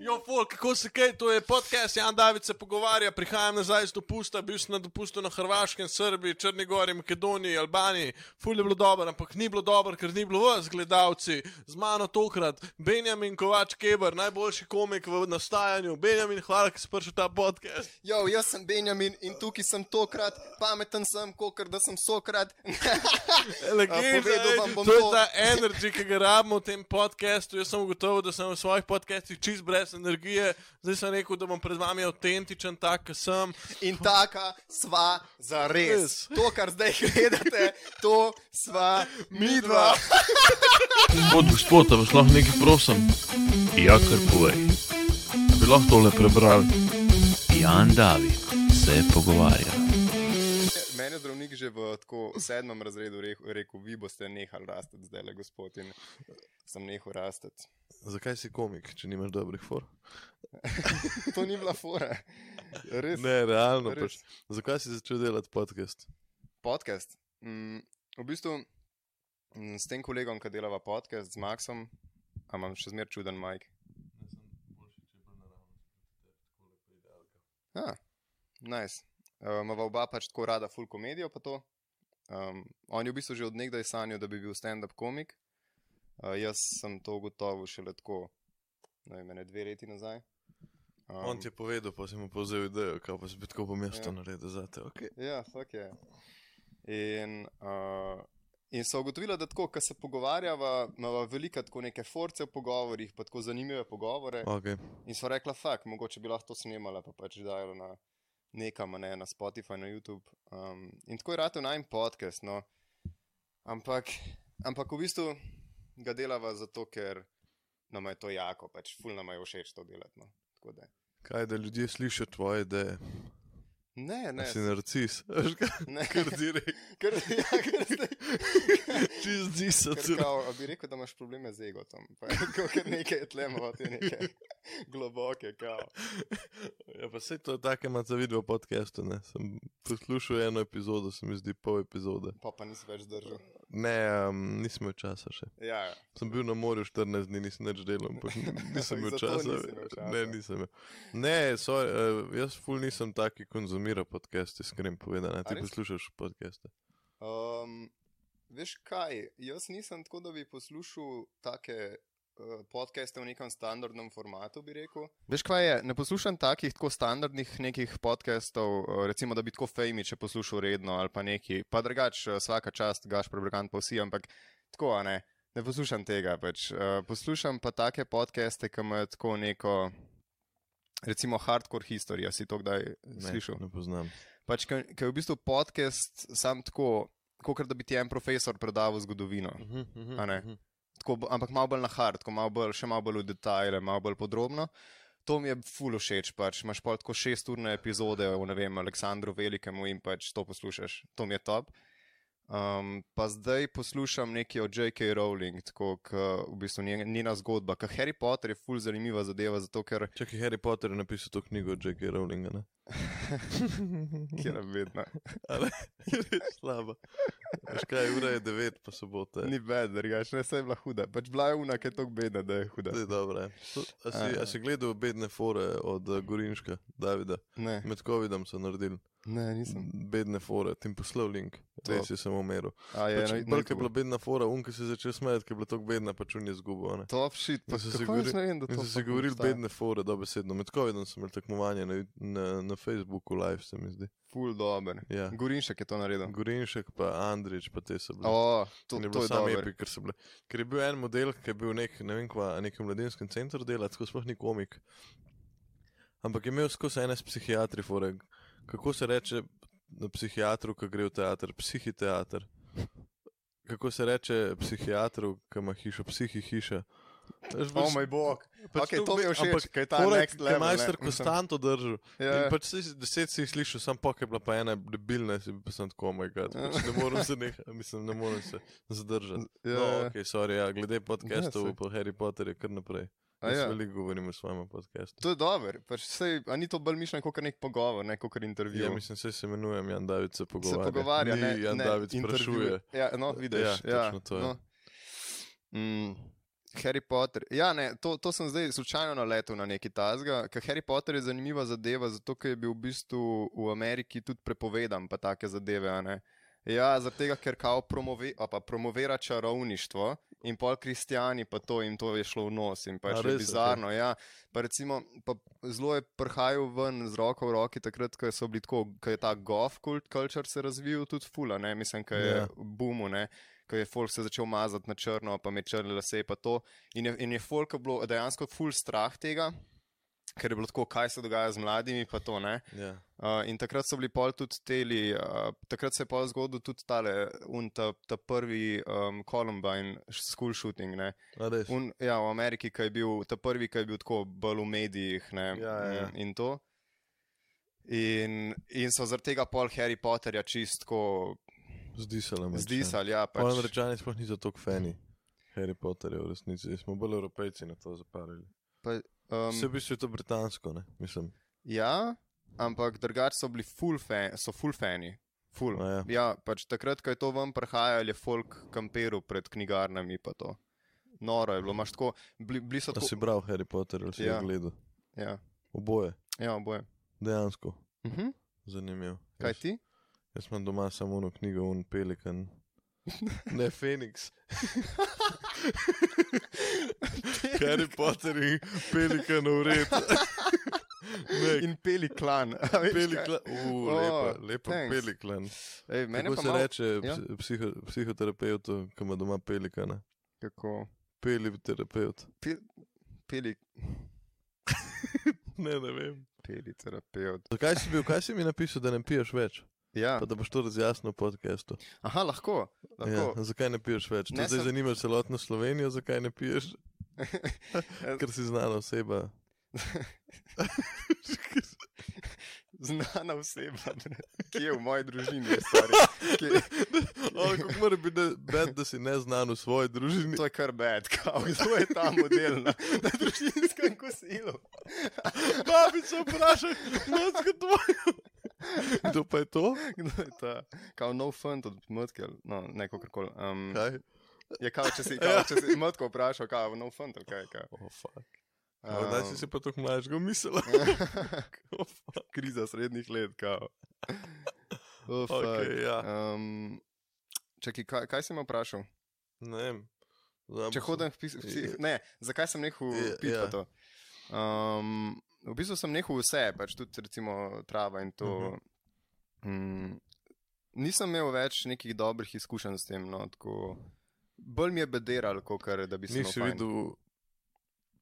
Jo, folk, kako se kaj, to je podcast, Jan David se pogovarja, prihajam nazaj iz dopusta, bil sem na dopustu na Hrvaškem, Srbiji, Črnegori, Makedoniji, Albaniji, ful je bilo dobro, ampak ni bilo dobro, ker ni bilo vas, gledalci, z mano tokrat, Benjamin Kovač Keber, najboljši komik v nastajanju, Benjamin, hvala, ker si prišel v ta podcast. Jo, jaz sem Benjamin in tukaj sem tokrat, pameten sem, kot da sem sokrat. Legenda, povedal vam ej, bom to je to. ta energy, ki ga rabimo v tem podkastu. Jaz sem ugotovil, da sem v svojih podcastih čist brez energije, zdaj sem rekel, da bom pred vami avtentičen, tak, kot sem. In taka sva za res. Res. To, kar zdaj gledate, to sva mi dva. Gospod, gospod, vas lahko nekaj prosim? Ja, kar povej. Bi lahko tole prebral? Jan David se pogovarja. Mene je zdravnik že v tako sedmem razredu re- rekel, vi boste nehali rastati, zdaj le gospod. In sem nehal rastati. Zakaj si komik, če nimaš dobrih for? To ni bila fora. Res. Ne, realno. Res. Pač. Zakaj si začel delati podcast? podcast. Mm, v bistvu mm, s tem kolegom, ki delava podcast z Maxom, a imam še zmeraj čuden majk. Ah, nice. Um, oba pač tako rada full komedijo, pa to. Um, on je v bistvu že odnegdaj sanjal, da bi bil stand-up komik. Uh, jaz sem to ugotovil šele tako, ne vem, ene dve leti nazaj. Um, On ti je povedal, pa si mu povzel idejo, kaj pa si bi tako po mestu Ja. naredil za te. Okay. Ja, fuck je. In, uh, in so ugotovila, da tako, ko se pogovarjava, imamo veliko tako neke force v pogovorih, pa tako zanimive pogovore. Okay. In so rekla, fuck, mogoče bi lahko to snemala, pa pač dajala na nekam, a ne na Spotify, na YouTube. Um, in tako je rado najmanj podcast. No. Ampak, ampak v bistvu ga delava zato, ker nam je to jako, pač ful nam je všeč to delati. No. Tako da- Kaj da ljudje slišijo tvoje ideje? Ne. Ne, ne, Si narcis, veš kaj? ne, Kar direkt, kar, ja, kar zdaj. čez disa. Ker Kao, a bi rekel, da imaš probleme z egotom, pa je tako kar nekaj tlemo, te neke globoke, kao. Ja, pa se to je tako, ima za video podcastu. Ne? Sem poslušal eno epizodo, se mi zdi pol epizode. Pa pa nisi več držal. Ne, um, nisem imel časa še. Ja, ja. Sem bil na morju 14 dni, nisem več delal, ampak n- nisem imel Zato časa. nisi imel časa. Ne, nisem imel. Ne, sorry, eh, jaz ful nisem taki, ki konzumira podcaste, iskreno povedano. Ti res? poslušaš podcaste. Um, veš kaj, jaz nisem tako, da bi poslušal take uh, podcaste v nekem standardnem formatu, bi rekel. Veš kaj je, ne poslušam takih tako standardnih nekih podcastov, uh, recimo, da bi tako fejmi, če poslušal redno ali pa neki, pa drugač uh, vsaka čast, gaš prebrkant pa vsi, ampak tako, a ne. Ne poslušam tega, pač. uh, poslušam pa take podcaste, ki imajo tako neko, recimo, hardcore historijo. Si to kdaj Ne, slišal? ne poznam. Pač, ker je v bistvu podcast sam tako, kot da bi ti en profesor predaval zgodovino. Uh -huh, Oh. A ne? Tako, bo- ampak malo bolj na hard, tako malo bolj, še malo bolj v detajle, malo bolj podrobno. To mi je fulo všeč, pač imaš pa tako šesturne epizode o ne vem, Aleksandru Velikemu in pač to poslušaš, to mi je top. Um, pa zdaj poslušam nekaj o J.K. Rowling, tako kot v bistvu njen- njena zgodba. Ker Harry Potter je ful zanimiva zadeva, zato ker Čakaj, Harry Potter je napisal to knjigo od J.K. Rowlinga, ne? je vedno. Slaba. Veš kaj, ura je 9, pa sobota. je. Ni bed, drugače, ne, saj je bila huda. Pač bila je una, ki je tako bedna, da je huda. Zdaj, dobro. je. To- A si, Aha. a si gledal bedne fore od eh, Gorinška, Davida? Ne, Med COVID-om so naredili ne, nisem. Ja. bedne fore, ti bom poslal link, res To. je sem omeril. A je, Pač, pač, Bolj, ker je bila bedna fora, unka se je začel smejati, ker je bila tako bedna, pač un je zgubo. Ne? Top shit, pa In so se se govorili- govori, ne vem, da In to so se fucking govorili obstaja. bedne fore, dobesedno. Med COVID-om so imeli tekmovanje na, na, na Facebooku live, se mi zdi. Ful dober. Ja. Gorinšek je to naredil. Gorinšek pa Andrič, pa te so bili. O, to, To, to to je sam dobro. epi, ker, so bile, ker je bil en model, ki je bil nek, ne vem, kva, a nekem mladinskem centru delati, tako sploh ni komik. Ampak je imel skozi ene s psihiatri, fore. kako se reče na psihiatru, ki gre v teater, psihiteater. Kako se reče psihiatru, ki ima hišo, psihi hiša. Veš, O pač- Oh moj bog. pač Okej, tako to mi je bi- ampak všeč, kaj je ta fora, next ki je level. Majster konstanto držal. In Ja, pač si, deset si jih slišal, sam pa je bila pa ena debilna, si pa sem tako, oh moj bog, pač ne morem se neha, mislim, ne morem se zadržati. ja, No, ja. ok, sorry, ja, glede podcastov saj. po Harry Potterju, kar naprej. A Jaz ja. veliko govorim o svojem podcastu. To je dober, pač sej, a ni to bolj mišljen kot nek pogovor, ne kot intervju. Ja, mislim, se, se imenujem Jan David, se se pogovarja. pogovarja, Ni ne, Jan ne, David Ja, intervju. sprašuje. Ja, no, vidiš. Ja, Ja, točno to je. no. Mm, Harry Potter. Ja, ne, to, to sem zdaj slučajno naletel na neki tazga. Ker Harry Potter je zanimiva zadeva, zato ker je bil v bistvu v Ameriki tudi prepovedan, pa take zadeve. a Ne. Ja, zaradi tega, ker kao promove, a pa promovira čarovništvo in pol kristijani, pa to jim to je šlo v nos in pa A je res, še okej. bizarno. Ja. Pa recimo, pa zelo je prhajal ven z roko v roki takrat, ko so bili tako, ko je ta gof kult culture se razvil tudi fula, ne, mislim, ko je Ja. yeah. boomu, ne, ko je folk se začel mazati na črno, pa me črne lase, pa to. In je, in je folk bilo dejansko ful strah tega, ker je bilo tako, kaj se dogaja z mladimi, pa to ne. Ja. Uh, in takrat so bili pol tudi teli, uh, takrat se je pol zgodil tudi tale, un, ta, ta prvi um, Columbine š- school shooting, ne. A res. Un, ja, v Ameriki, ki je bil ta prvi, ki je bil tako bolj v medijih. Ne, Ja, ja, ja. mm, In to. In, in so zaradi tega pol Harry Potterja čistko Zdi se nam. zdisali. Ja, Pač... pač. Američani sploh niso tako fani. Harry Potter je v resnici, smo bolj evropejci na to zaparili. Um, Vse um, v bistvu je to britansko, ne? Mislim. ja, ampak drugače so bili full, fan, so full fani. Full. A ja. Ja, pač takrat, ko je to ven prihajalo, je folk kamperu pred knjigarnami pa to. Noro je bilo, imaš tako, bili, bili so Tako... Si tako. bral Harry Potter ali si ja. Ja. gledal? Ja, Oboje, ja oboje. dejansko. Uh -huh. Zanimivo. Kaj Jaz- ti? Jaz imam doma samo eno knjigo, un pelikan. Ne, Phoenix. Harry Potter in pelikan ured. Ne, In peli klan. a veš, kaj? peliklan. Uf, lepa, Oh, lepa thanks. peliklan. Ej, mene Kako pa se malo- reče ja. ja? psiho, psihoterapeutu, ki ima doma pelikana? Kako? Peliterapeut. Peli, Ne, ne vem. peli terapeut. Zakaj si bil, kaj si mi napisal, da ne piješ več? Ja. Pa da boš to razjasnil v podkastu. Aha, lahko. Ja, lahko. zakaj ne piješ več? Ne, Ne, zdaj sem- sem... zanima celotno Slovenijo, zakaj ne piješ, Ja. ker si znana oseba. Znana oseba, ki je v moji družini. sorry. Ki, Oj, kako mora biti da- bed, da si neznan v svoji družini. to je kar bed, kao, kdo je ta model na, na družinskem kosilu. Babica vpraša, motko tvojo. Kdo pa je to? Kdo je ta? Kao no fun od motke, ali- no, neko karkoli. Um, Kaj? je kao, če si, kao, če si motko vprašal, kao, no fun, ali kaj. Kao. Oh, fuck. Um... Zdaj si si pa tako mlajšega mislila. Oh, fuck. kriza srednjih let, kao. Oh, fuck. okay, ja. Um, čaki, kaj, kaj sem vprašal? Ne vem. Znam, Če hodim v pismo, ne, zakaj sem nehal Ja, piti ja. yeah. to? Um, v bistvu sem nehal vse, pač tudi recimo trava in to. Uh -huh. Mhm. um, nisem imel več nekih dobrih izkušenj s tem, no, tako. Bolj mi je bederal, kot kar da bi se Nisi videl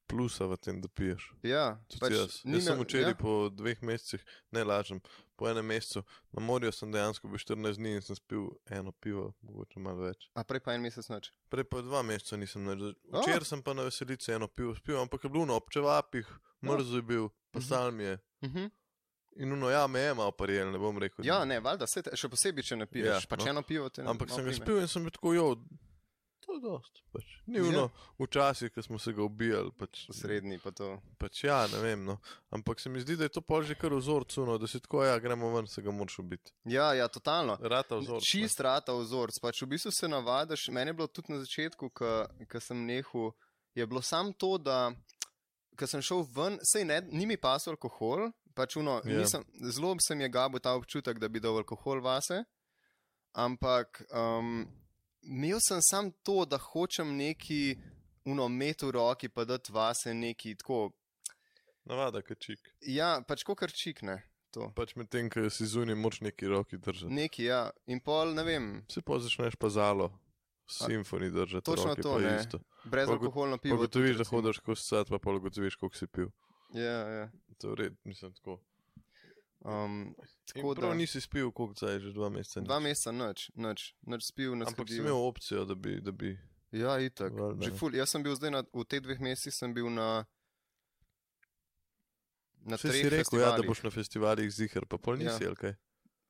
plusa v tem, da piješ. Ja, Tudi pač, jaz. Jaz sem včeraj ja? po dveh mesecih, ne lažem, po enem mesecu na morju sem dejansko bil 14 dni in sem spil eno pivo, mogoče malo več. A prej pa en mesec noč. Prej pa dva meseca nisem naredil. A. Včeraj sem pa na veselici eno pivo spil, ampak je bilo na občevapih, mrzlo je bil, pa Mhm. sam je. Uh -huh. In uno, ja, me je malo parijel, ne bom rekel. da Ja, ne. ne, valjda, se te, še posebej, če ne piješ. Ja, Ja, pač no. no. eno pivo te ne Ampak malo sem ga prime. spil in sem bil tako, jo, to je dost. Pač. Ni Ja. uno, včasih, ko smo se ga ubijali. Pač, V srednji pa to. Pač ja, ne vem. No. Ampak se mi zdi, da je to pol že kar vzorcuno, da si tako, ja, gremo ven, se ga moraš ubiti. Ja, ja, totalno. Rata vzorc. ne. Čist rata vzorc. Pač v bistvu se navadiš. Meni je bilo tudi na začetku, ko sem nehal, je bilo samo to, da ko sem šel ven, sej ne, ni mi pasel alkohol, pač uno, Ja. yeah. nisem, zelo se mi je gabo ta občutek, da bi dal alkohol vase, ampak um, imel sem samo to, da hočem neki uno met v roki, pa dati vase neki tako. Navada, kačik. Ja, pač kot krčikne to. Pač medtem, ko si zunaj, moč neki roki držati. Neki, ja, in pol, ne vem, Se pa začneš pa zalo, simfoni držati. Točno roki, to, pa ne. isto. brezalkoholno Pa pivo. ugotoviš, da tudi, recimo. hodiš skozi sad, pa pa ugotoviš, koliko si pil. Ja, ja. To je red, mislim tako. Um, Tako Tako da da- nisi spil, koliko zdaj že dva meseca. dva nisi. meseca noč, noč, noč spil na Ampak si imel opcijo, da bi. Da bi Ja, itak. Valjda, Že ne. ful, jaz sem bil zdaj na, v teh dveh mesecih sem bil na. Na Saj treh si rekel, ja, da festivalih. boš na festivalih zihar, pa pol Ja. nisi, ali kaj?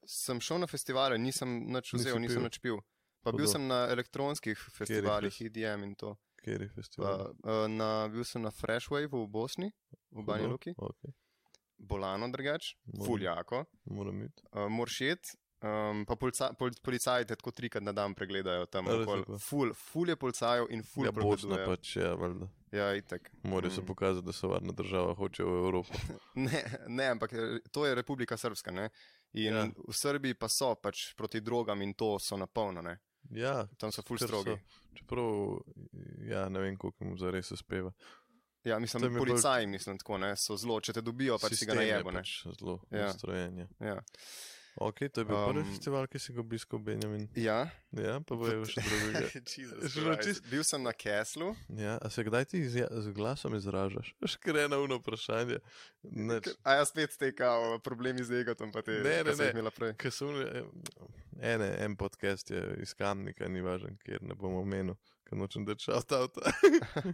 Sem šel na festivale, nisem nič Nisi vzel, pil. nisem nič pil. Pa bil Hudo. sem na elektronskih festivalih, fest- IDM in to. Kjer je Pa, festival? eh, na, bil sem na Freshwave v Bosni, v Banja No, Luki, Okay. Bolano drugač, Moram. Fuljako, Moram iti. uh, Moršet, Um, pa polica, pol, policaji te tako trikrat na dan pregledajo tam. Ja, res okoli. tako. Ful, ful je policajev in ful Ja, je Bosna pač je, valjda. Ja, itek. Morajo se pokazati, da so varna država, hočejo v Evropo. Ne, ne, ampak eh, to je Republika Srpska. Ne? In Ja. ja. v Srbiji pa so pač proti drogam in to so napolno. Ne? Ja, Tam so ful ker strogi. so. Čeprav, ja, ne vem, koliko mu zares se speva. Ja, Tam mislim, je bolj- policaji, mislim, tako ne, so zelo, če te dobijo, pač si ga Sistem je najebo. ne. Pač zelo Ja. ja. ustrojen je. Ja. Ok, to je bil um, prvi Um, festival, ki si ga obiskal, Benjamin. ja. Ja, pa bojo še drugega. Jesus Že bilo Christ. čist- Bil sem na Keslu, Ja, a se kdaj ti izja, z glasom izražaš? Škrena uno vprašanje. Neč, a jaz spet tekal problemi z egotom, pa te Ne, ne, ki sem jih ne. imela prej. Ker so ene, en podcast je iz Kamnika, ni važen, kjer ne bom omenil, ker nočem da čat avta. ker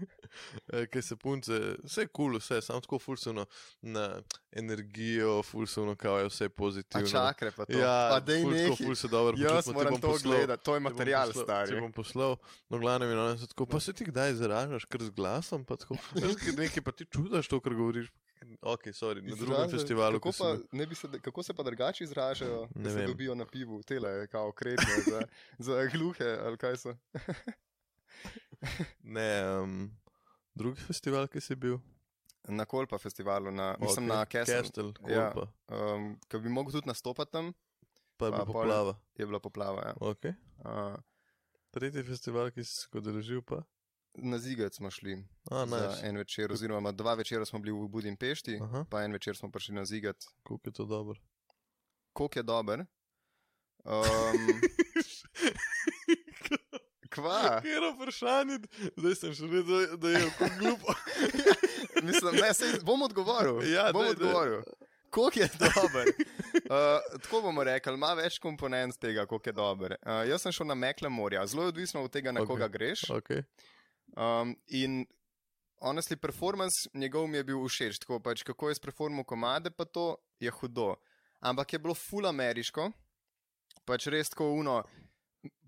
Eh, se punce, vse kul, cool, vse, samo tako fulsovno na energijo, fulsovno kao je vse A pozitivno. čakre pa to. Ja, pa dej ful tako, neki. ful se dobro počutim, Jaz pa ti moram bom to poslal- gledati, to je ti bom material poslal- Ti stari. bom poslal, no glavno in ona se tako, pa se ti kdaj izražaš, kar z glasom, pa tako, veš, kaj nekaj pa ti čudaš to, kar govoriš. Ok, sorry, na drugem Izražajo- festivalu. Kako, ko sem pa, bil. ne bi se, da- kako se pa drugače izražajo, Ne da se vem. dobijo na pivu, tele, kao kretne za, za gluhe ali kaj so? Ne, um, drugi festival, ki si bil. Na Kolpa festivalu, na, mislim na Keslu, Kestel, Ja. Kolpa, um, ki bi mogel tudi nastopati tam, pa je Pa bila pol- poplava. je bila poplava. Ja. Okay. Uh, Tretji festival, ki si se ga deležil, pa. na Zigec smo šli A, za nice. en večer, oziroma dva večera smo bili v Budimpešti, Aha, pa en večer smo prišli na Zigec. koliko je to dobro. Kok je dober? Um, kva? Kjer vprašanje, zdaj sem še vedel, da je kot glupo. Mislim, ne, sej, bom odgovoril. Ja, bom daj, daj. odgovoril. Koliko je dober? Uh, tako bomo rekli, ima več komponent tega, koliko je dober. Uh, jaz sem šel na Mekle morja, zelo je odvisno od tega, na Ok. okay. koga greš. Okay. Um, in honestly, performance njegov mi je bil všeč, tako pač kako je spreformal komade, pa to je hudo. Ampak je bilo full ameriško, pač res tako uno.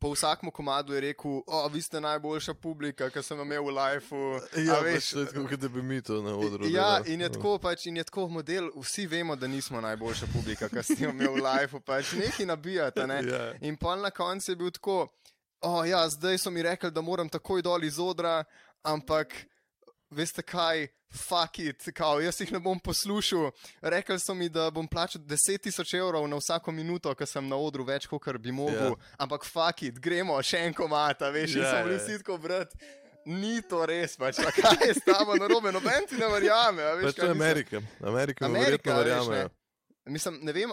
Po vsakem komadu je rekel, o, vi ste najboljša publika, ki sem jo imel v lifeu. Ja, A veš, to je tako, kot da bi mi to na odru. Ja, delali. No. in je tako, pač, in je tako model, vsi vemo, da nismo najboljša publika, ki ste jo imeli v lifeu, pač neki nabijate. Ne? Ja. In pol na koncu je bil tako, o ja, zdaj so mi rekli, da moram takoj dol iz odra, ampak veste kaj, fuck it, kao, jaz jih ne bom poslušal. Rekli so mi, da bom plačal 10.000 evrov na vsako minuto, ker sem na odru več, kot bi mogel, Ja. yeah. ampak fuck it, gremo, še en komata, veš, yeah, in Ja, sem ja, bili ja. vsi tako brat. Ni to res, pač pa kaj je s tabo narobe, noben ti ne verjame. a Veš, Pač to je kaj mislim. Amerika. Amerika, Amerika, Amerika a veš, verjamejo. ne. Mislim, ne vem,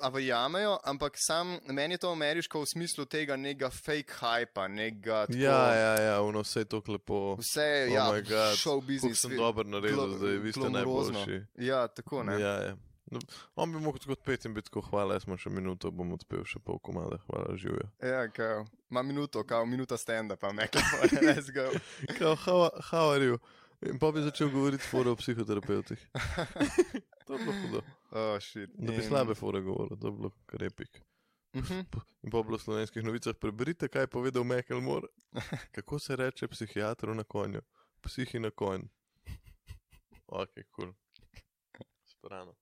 a verjamejo, ampak sam meni je to ameriško v smislu tega nekega fake hypa, nekega. Tako, Ja, ja, ja, ono vse je tako lepo. Vse je, Oh oh ja, my God, šel Kako biznis. sem dobro naredil, glo- zdaj vi ste glomorozno. najboljši. Ja, tako ne. Ja. Ja, ja. No, on bi lahko tako odpet in bi tako, hvala, jaz sem še minuto, bom odpel še pol komada, hvala, živijo. Ja, kao, ima minuto, kao minuta stenda, pa meka, let's go. Kao, how, how are you? In pa bi začel govoriti fore o psihoterapeutih. to je bilo hudo. Oh, shit. Da bi In- slabe fore govoril, to je bilo krepik. Mhm. In pa je bilo v slovenskih novicah, preberite, kaj je povedal Mekelmor. Kako se reče psihiatru na konju? Psihi na konj. Ok, kul. Cool. Sprano.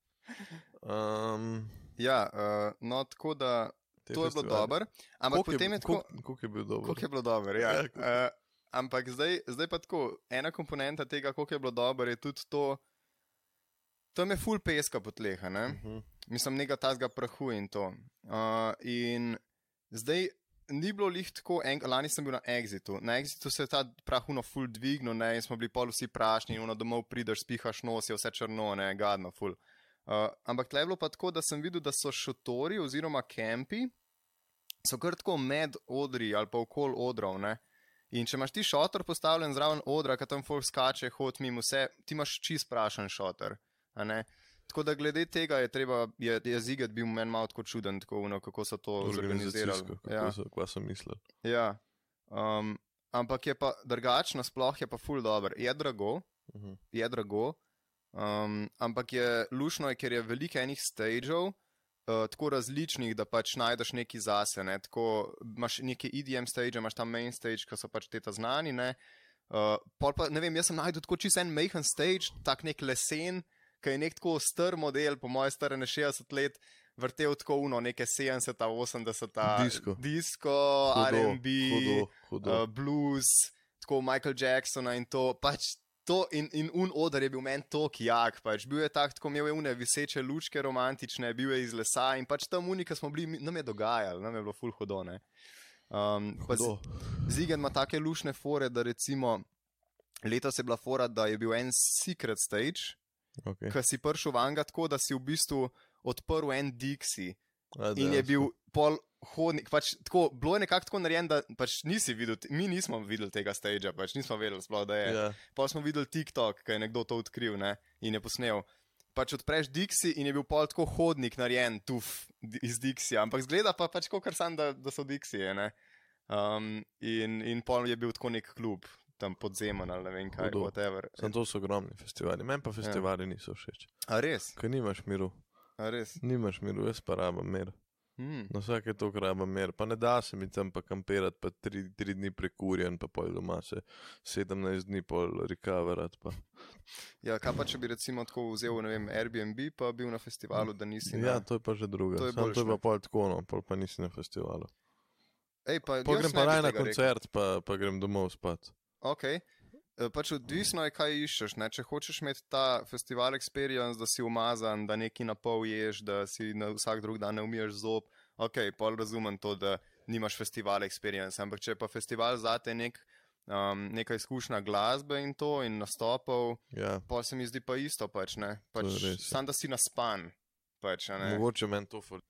Um, Ja, uh, no tako da te to je bilo festivale. dobro, ampak Koliko potem je tako. koliko- Koliko je bil dober? Kako je bilo dobro, ja. Ja, ja koliko- uh, ampak zdaj, zdaj pa tako, ena komponenta tega, koliko je bilo dobro, je tudi to, tam je full peska potleha, ne? Mhm. mislim, nekaj tazga prahu in to. Uh, in zdaj ni bilo lih tako, en, lani sem bil na Exitu, na Exitu se je ta prahuno full dvignil, ne, in smo bili pol vsi prašni, in ono domov prideš, spihaš nos, je vse črno, ne, gadno, full. Uh, ampak tle je bilo pa tako, da sem videl, da so šotori oziroma kampi, so kar tako med odri ali pa okol odrov. Ne? In če imaš ti šotor postavljen zraven odra, ki tam folk skače, hod mimo vse, ti imaš čist prašen šotor. a ne. Tako da glede tega je treba, je, je ziget bil meni malo tako čuden, tako uno, kako so to organizirali. Organizacijsko, kako so- kva sem mislil. ja. Um, ampak je pa drugačno, sploh je pa full dobro. Je drago, Mhm. je drago. Um, ampak je lušno, je, ker je veliko enih stageov, uh, tako različnih, da pač najdeš neki zase. Ne? Tako, imaš neke EDM stage, imaš tam main stage, ki so pač te ta znani. Ne? Uh, pol pa, ne vem, jaz sem najdel tako čist en majhen stage, tak nek lesen, ki je nek tako star model, po mojem, star ne 60 let. vrtel tako uno, neke 70-ta, 80-ta, Disko. disko RB, hudo, hudo. uh, blues, tako Michael Jacksona in to. Pač to in, in un odr je bil meni tok jak, pač bil je tak, tako imel je une viseče lučke romantične, bil je iz lesa in pač tam unika smo bili, mi- nam je dogajalo, nam je bilo full hodone. Um, pa z- Hudo. Zigen ima take lušne fore, da recimo letos je bila fora, da je bil en secret stage, Okay. ki si prišel vanga tako, da si v bistvu odprl en Dixie A, in je bil pol hodnik. Pač, tako, bilo je nekako tako narejeno, da pač nisi videl, te- mi nismo videli tega stagea, pač nismo vedeli sploh, da je. Yeah. Ja. Pa smo videli TikTok, ki je nekdo to odkril ne? in je posnel. Pač odpreš Dixie in je bil pol tako hodnik narejen, tuf di- iz Dixija, ampak zgleda pa pač kot kar sam, da, da so Dixije. ne. Um, in, in pol je bil tako nek klub, tam podzemen ali ne vem kaj, Hudo. whatever. Samo to so ogromni festivali. Meni pa festivali ja. niso všeč, A res, ker nimaš miru. a res. Nimaš miru, jaz pa rabim mir. Mm. Na vsake to rabim mir. Pa ne da se mi tam pa kampirati, pa tri, tri dni prekurjen, pa pol doma se 17 dni pol recoverat. Pa. Ja, kaj pa če bi recimo tako vzel, ne vem, Airbnb, pa bil na festivalu, da nisi. Ja, na... to je pa že druga. To je Samo to je boljše. pa pol tako, no, pol pa nisi na festivalu. Ej, pa, Pol grem jaz ne pa bi raje na tega rekel. koncert, pa, pa grem domov spat. Okay. Eh, Pač odvisno je, kaj iščeš. Ne? Če hočeš imeti ta festival experience, da si umazan, da neki na pol ješ, da si na vsak drug dan ne umiješ zob, ok, pol razumem to, da nimaš festival experience. Ampak če je pa festival zate nek, um, neka izkušnja glasbe in to in nastopov, Ja. pa se mi zdi pa isto, pač, ne? pač, je res, ja. sam da si naspan. Pač, a ne? Mogoče meni to ful.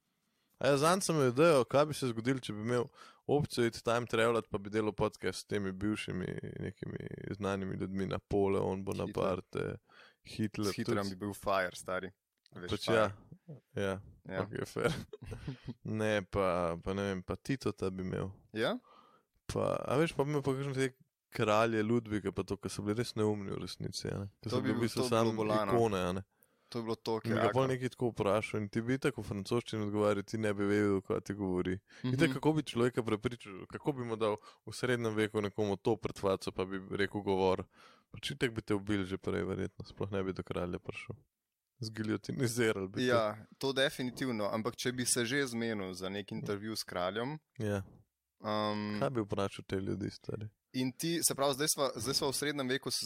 A Ja, Zanj sem videl, kaj bi se zgodilo, če bi imel opcijo iti time travelat, pa bi delal podcast s temi bivšimi nekimi znanimi ljudmi, Napoleon, Bonaparte, Hitler. S hitrom bi tudi- bil fire, stari. Veš, Pač fire. ja, ja, ja. Ja. Okay, fair. ne, pa, pa ne vem, pa Tito ta bi imel. ja? Pa, a veš, pa bi imel pa kakšne te kralje Ludvika, pa to, ki so bili res neumni v resnici. a ne. Ker To so bi bili v bil- bistvu to bi samo bilo bolano. ikone. a ne. To je bilo to, In ga kar bolj nekaj tako vprašal in ti bi tako v francoščini odgovarjal, ti ne bi vedel, kaj ti govori. Mhm. Vidite, kako bi človeka prepričal, kako bi mu dal v srednjem veku nekomu to pretvaco, pa bi rekel govor. Počitek bi te ubil že prej, verjetno, sploh ne bi do kralja prišel. Zgiljotiniziral bi. te. Ja, to definitivno, ampak če bi se že zmenil za nek intervju s kraljem. ja. Um, Kaj bi vprašal te ljudi, stari? in ti, se pravi, zdaj sva, zdaj sva v srednjem veku s,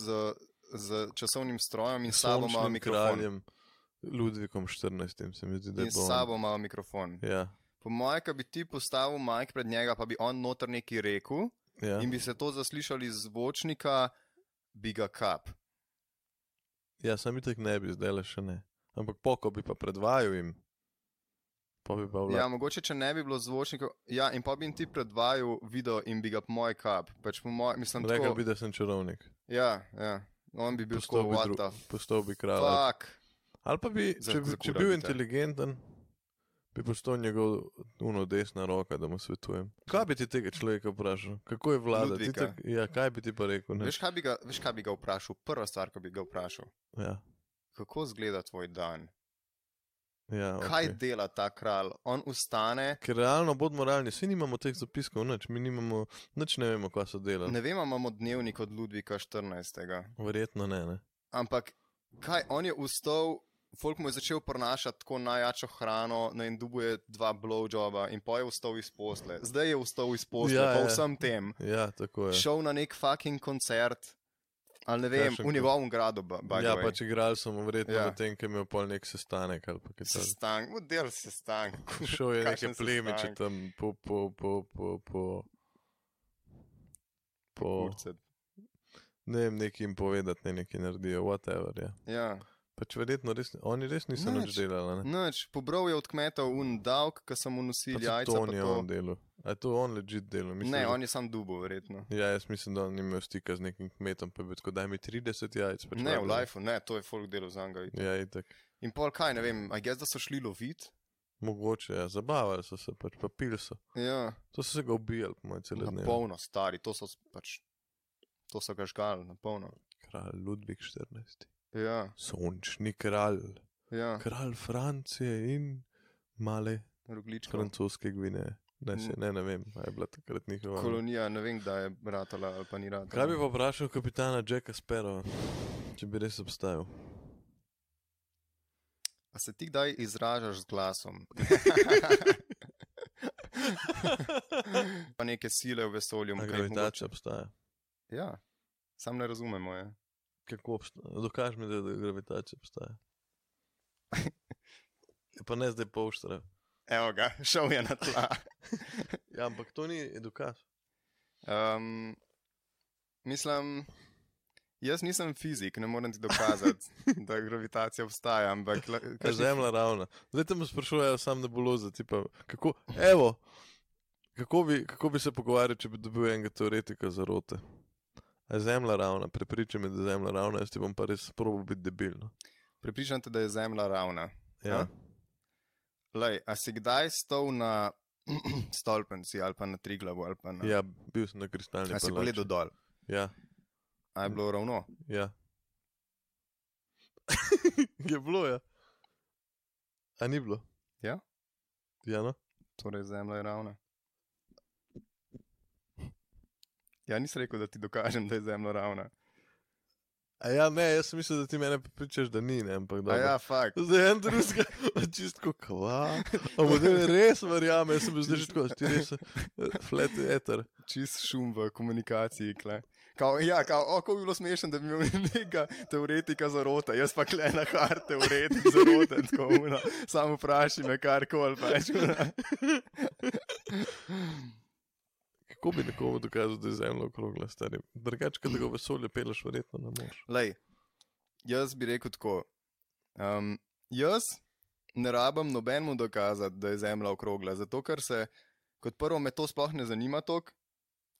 z časovnim strojem in s sabo imamo Sončnim mikrofon. kraljem Ludvikom 14. se mi zdi, da je In s bil on. sabo imamo mikrofon. Ja, Po mojem, da bi ti postavil majk pred njega, pa bi on noter nekaj rekel ja. in bi se to zaslišali iz zvočnika, bi ga kap. ja sam itek ne bi, zdaj le še ne. Ampak poko bi pa predvajal jim. Pa bi pa vlad. Ja, mogoče, če ne bi bilo zvočnikov, ja, in pa bi jim ti predvajal video in bi ga po mojem kap. Pač po mojem, mislim, Rekel tako, bi, da sem čarovnik. Ja, ja, on bi bil Postal tako, bi, what dru- the postal bi kralj. ali fuck. Ali pa bi, Za- če, bi- za če bi kura bil bi te. inteligenten, bi postal njegov uno desna roka, da mu svetujem. Kaj bi ti tega človeka vprašal? Kako je vlada? Ti Ludvika. Tak, ja, kaj bi ti pa rekel? Ne? Veš kaj, bi ga, veš, kaj bi ga vprašal? Prva stvar, ki bi ga vprašal, Ja, kako izgleda tvoj dan? ja, Okay. Kaj okay. dela ta kralj? On ustane, Ker realno bodimo realni, vsi nimamo teh zapiskov, nič, mi nimamo, nič ne vemo, kaj so delali. Ne. ne vem, a imamo dnevnik od Ludvika 14. Verjetno ne. ne. Ampak kaj, on je ustal, folk mu je začel prenašati tako najjačo hrano, na indubu je dva blowjoba in pa je ustal iz posle. Zdaj je ustal iz posle, Ja, ja, ja. po vsem tem. Ja, tako je. Šel na nek fucking koncert, ali ne vem, Kakšen v kon- njegovem gradu, ba- by the Ja, way. pač igral sem verjetno ja. Ja. na tem, ker je imel pol nek sestanek ali pa kaj takega. Sestank, model sestank. Šel je neke Kakšen plemiče sestanek? tam po, po, po, po, po, po Kurce. ne vem, nekaj jim povedati, ne nekaj naredijo, whatever. Ja. Ja. Pač verjetno res, oni res niso nič Nič. delali. Ne? Noč, pobral je od kmetov un davk, ki sem mu nosil Pa jajca. tudi to pa ni to. on delo. A je to on ležit delo? Mislim, Ne, da- on je sam dubo, verjetno. Ja, jaz mislim, da on ni imel stika z nekim kmetom, pa je bil tako, da mi 30 jajc. Pač Ne, v valjda. lifeu, ne, to je folk delo za njega. Ja, itak. In pol kaj, ne vem, a jaz da so šli lovit. Mogoče, ja, zabavali so se, pač pa pil so. Ja, To so se ga ubijali, po mojem, celo na dnev. polno, stari, to so s- pač. To so ga žgali, na polno. Kralj Ludvik 14. Ja, Sončni kralj. ja, Kralj Francije in male roglička. francoske gvine. Ne, se, ne, ne vem, kaj je bila takrat njihova. ne. Kolonija, ne vem, da je ratala ali pa ni ratala. Kaj bi pa vprašal kapitana Jacka Sparrowa, če bi res obstajal? A se ti kdaj izražaš z glasom? pa neke sile v vesolju, A ki jih Gravitacija obstaja. mogoče- Ja, sam ne razumemo. Je. Kako obstaja? Dokaž mi, da, da gravitacija obstaja. Ja, Pa ne zdaj polštra. Evo ga, šel je na tla. Ja, ampak to ni dokaz. Um, mislim, jaz nisem fizik, ne morem ti dokazati, da gravitacija obstaja, ampak la- Kaj kakšni- je zemlja ravna. Zdaj te me sprašujejo, sam nebuloze. Tipa, kako, evo, kako, bi, kako bi se pogovarjal, če bi dobil enega teoretika za rote? A je zemlja ravna, prepričaj me, da je zemlja ravna, jaz ti bom pa res probil biti debilno. Prepričan te, da je zemlja ravna. Ja. Ja. Lej, a si kdaj stal na stolpenci ali pa na tri glavu ali pa na. ja, bil sem na kristalni a si palači. pogledal dol, Ja, a je bilo ravno. ja. je bilo, ja. A ni bilo? Ja. Ja, no. Torej, zemlja je ravna. Ja, nisem rekel, da ti dokažem, da je zemlja ravna. A ja, ne, jaz sem mislil, da ti mene pričaš, da ni, ne, ampak A da. ja, fakt. Zdaj en drugega, čistko kva. Ampak zdaj res verjame, jaz sem bil zdaj že tako, ti res, eh, flat eter. čist šum v komunikaciji. Kle. Kao, ja, kao, oko bi bilo smešno, da bi imel nekega teoretika zarote, jaz pa kle na har teoretik zarote, tako umno, samo vpraši me kar koli pač. ono. Kako bi nekomu dokazal, da je zemlja okrogla, stari? Drugače, kad ga v vesolje peleš, verjetno ne moreš. Lej, jaz bi rekel tako, um, jaz ne rabim nobenemu dokazati, da je zemlja okrogla, zato ker se kot prvo me to sploh ne zanima tok,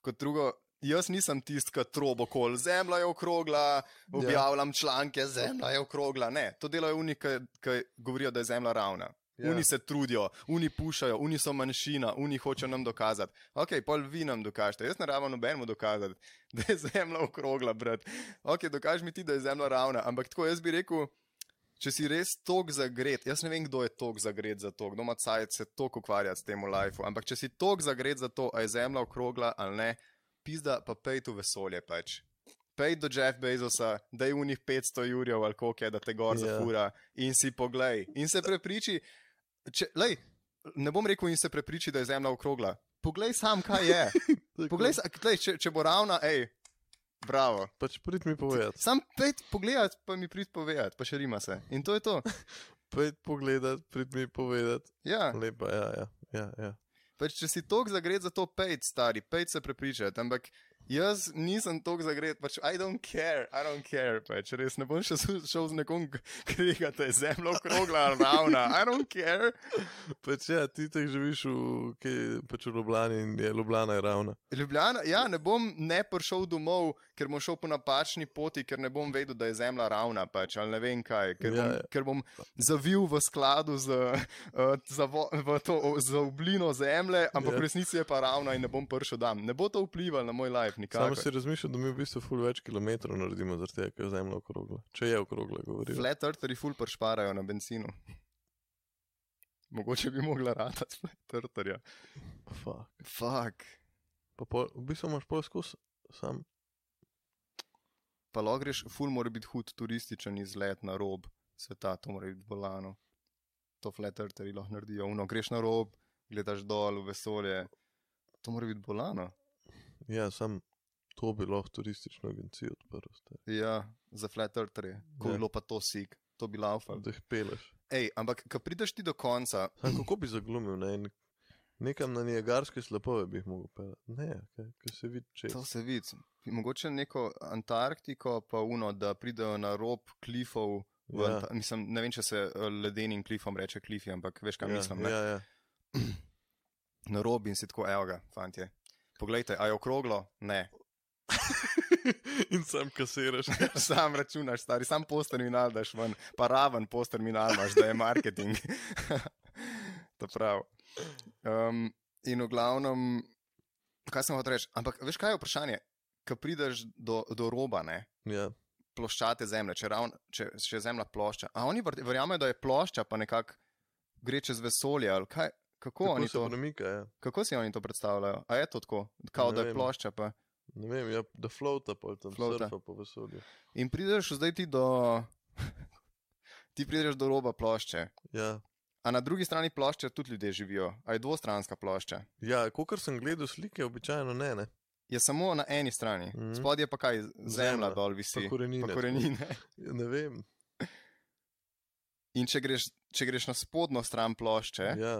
kot drugo. Jaz nisem tisti, ki trobo kol, zemlja je okrogla, objavljam članke, zemlja je okrogla. Ne, to delajo oni, ki ki govorijo, da je zemlja ravna. Ja. Yeah. Ja. Oni se trudijo, oni pušajo, oni so manjšina, oni hočejo nam dokazati. Ok, pol vi nam dokažete. Jaz ne rabim nobenemu dokazati, da je zemlja okrogla, brat. Ok, dokaž mi ti, da je zemlja ravna. Ampak tako jaz bi rekel, če si res tok zagret, jaz ne vem, kdo je tok zagret za to, kdo ima cajt se tok ukvarjati s tem v lifeu. Ampak če si tok zagret za to, a je zemlja okrogla ali ne, pizda pa pej tu vesolje pač. Pej do Jeff Bezosa, da je v njih 500 jurjev ali koliko je, da te gor Ja. yeah. zafura in si poglej. In se prepriči, če, lej, ne bom rekel, in se prepriči, da je zemlja okrogla. Poglej sam, kaj je. Poglej, sa- glej, če, če bo ravna, hej, bravo. Pač prid mi povedati, Sam pet pogledaj, pa mi prid povedati, pa še rima se. In to je to. prid pogledati, prid mi povedati. Ja, Lepa, ja, ja. ja, ja. pač, če si tok zagret za to, pet stari, pet se prepričati, ampak jaz nisem tok zagret, pač I don't care, I don't care, pač res ne bom še s- šel z nekom kriga, da je zemlja okrogla, ali ravna, I don't care. Pač ja, ti tak živiš v, kaj, pač v Ljubljani in je Ljubljana je ravna. Ljubljana, ja, ne bom ne prišel domov, ker bom šel po napačni poti, ker ne bom vedel, da je zemlja ravna, pač, ali ne vem kaj, ker, Ja, bom, ja. ker bom zavil v skladu z, uh, za, vo, v to, o, za oblino zemlje, ampak Ja. v resnici je pa ravna in ne bom prišel tam. Ne bo to vplivalo na moj life, Samo nikakor. si razmišljal, da mi v bistvu ful več kilometrov naredimo, zaradi tega, ker je zemlja okrogla. Če je okrogla, govorim. Flat eartheri ful pršparajo na benzinu. Mogoče bi mogla ratati flat eartherja. Fuck. Fuck, Pa pol, v bistvu imaš pol skus, sam. pa logreš, ful mora biti hud turističen izlet na rob sveta, to mora biti bolano. To flat eartheri lahko naredijo, uno greš na rob, gledaš dol v vesolje. To mora biti bolano. Ja, sam to bi lahko turistično agencijo odprl. stari. Ja, za flat eartherje, ko Ja. je bilo pa to sik, to bi laufal. Da jih peleš. Ej, ampak, ko prideš ti do konca, Sam kako bi zaglumil, ne? En- Nekam na nijagarske slapove bi jih mogel pelati. Ne, kaj, kaj se vidi, če. to se vidi. Mogoče neko Antarktiko, pa uno, da pridejo na rob klifov. Ja, Ja. Mislim, ne vem, če se eh, ledenim klifom reče klifi, ampak veš, kaj ja, ja, mislim. ne? ja, ja. Na rob in si tako, evo ga, fantje. Poglejte, a je okroglo? Ne. In sam kasiraš. Sam računaš, stari, sam posterminal daš ven, pa raven posterminal imaš, da je marketing. to prav. Um, in v glavnem, kaj sem hotel reči? Ampak veš, kaj je vprašanje? Ko prideš do, do roba, ne? Ja, ploščate zemlje, če, ravn, če, če je zemlja plošča. A oni ver- verjamejo, da je plošča, pa nekako gre čez vesolje. ali Kaj, kako, tako oni se to, premika, ja. kako si oni to predstavljajo? A je to tako, kao Ne da je vem. plošča? Pa. Ne vem, ja, da flota pa tam Flota. flota. surfa po vesolju. In prideš zdaj ti do. ti prideš do roba plošče. Ja, A na drugi strani plošče tudi ljudje živijo, ali je dvostranska plošča. ja kot sem gledal slike, običajno ne. ne. Je samo na eni strani, Mhm. mm. spodaj je pa kaj, Zemlja, zemlja dol visi, pa korenine. pa korenine. Ja, ne vem. In če greš, če greš na spodnjo stran plošče, Eh? Ja,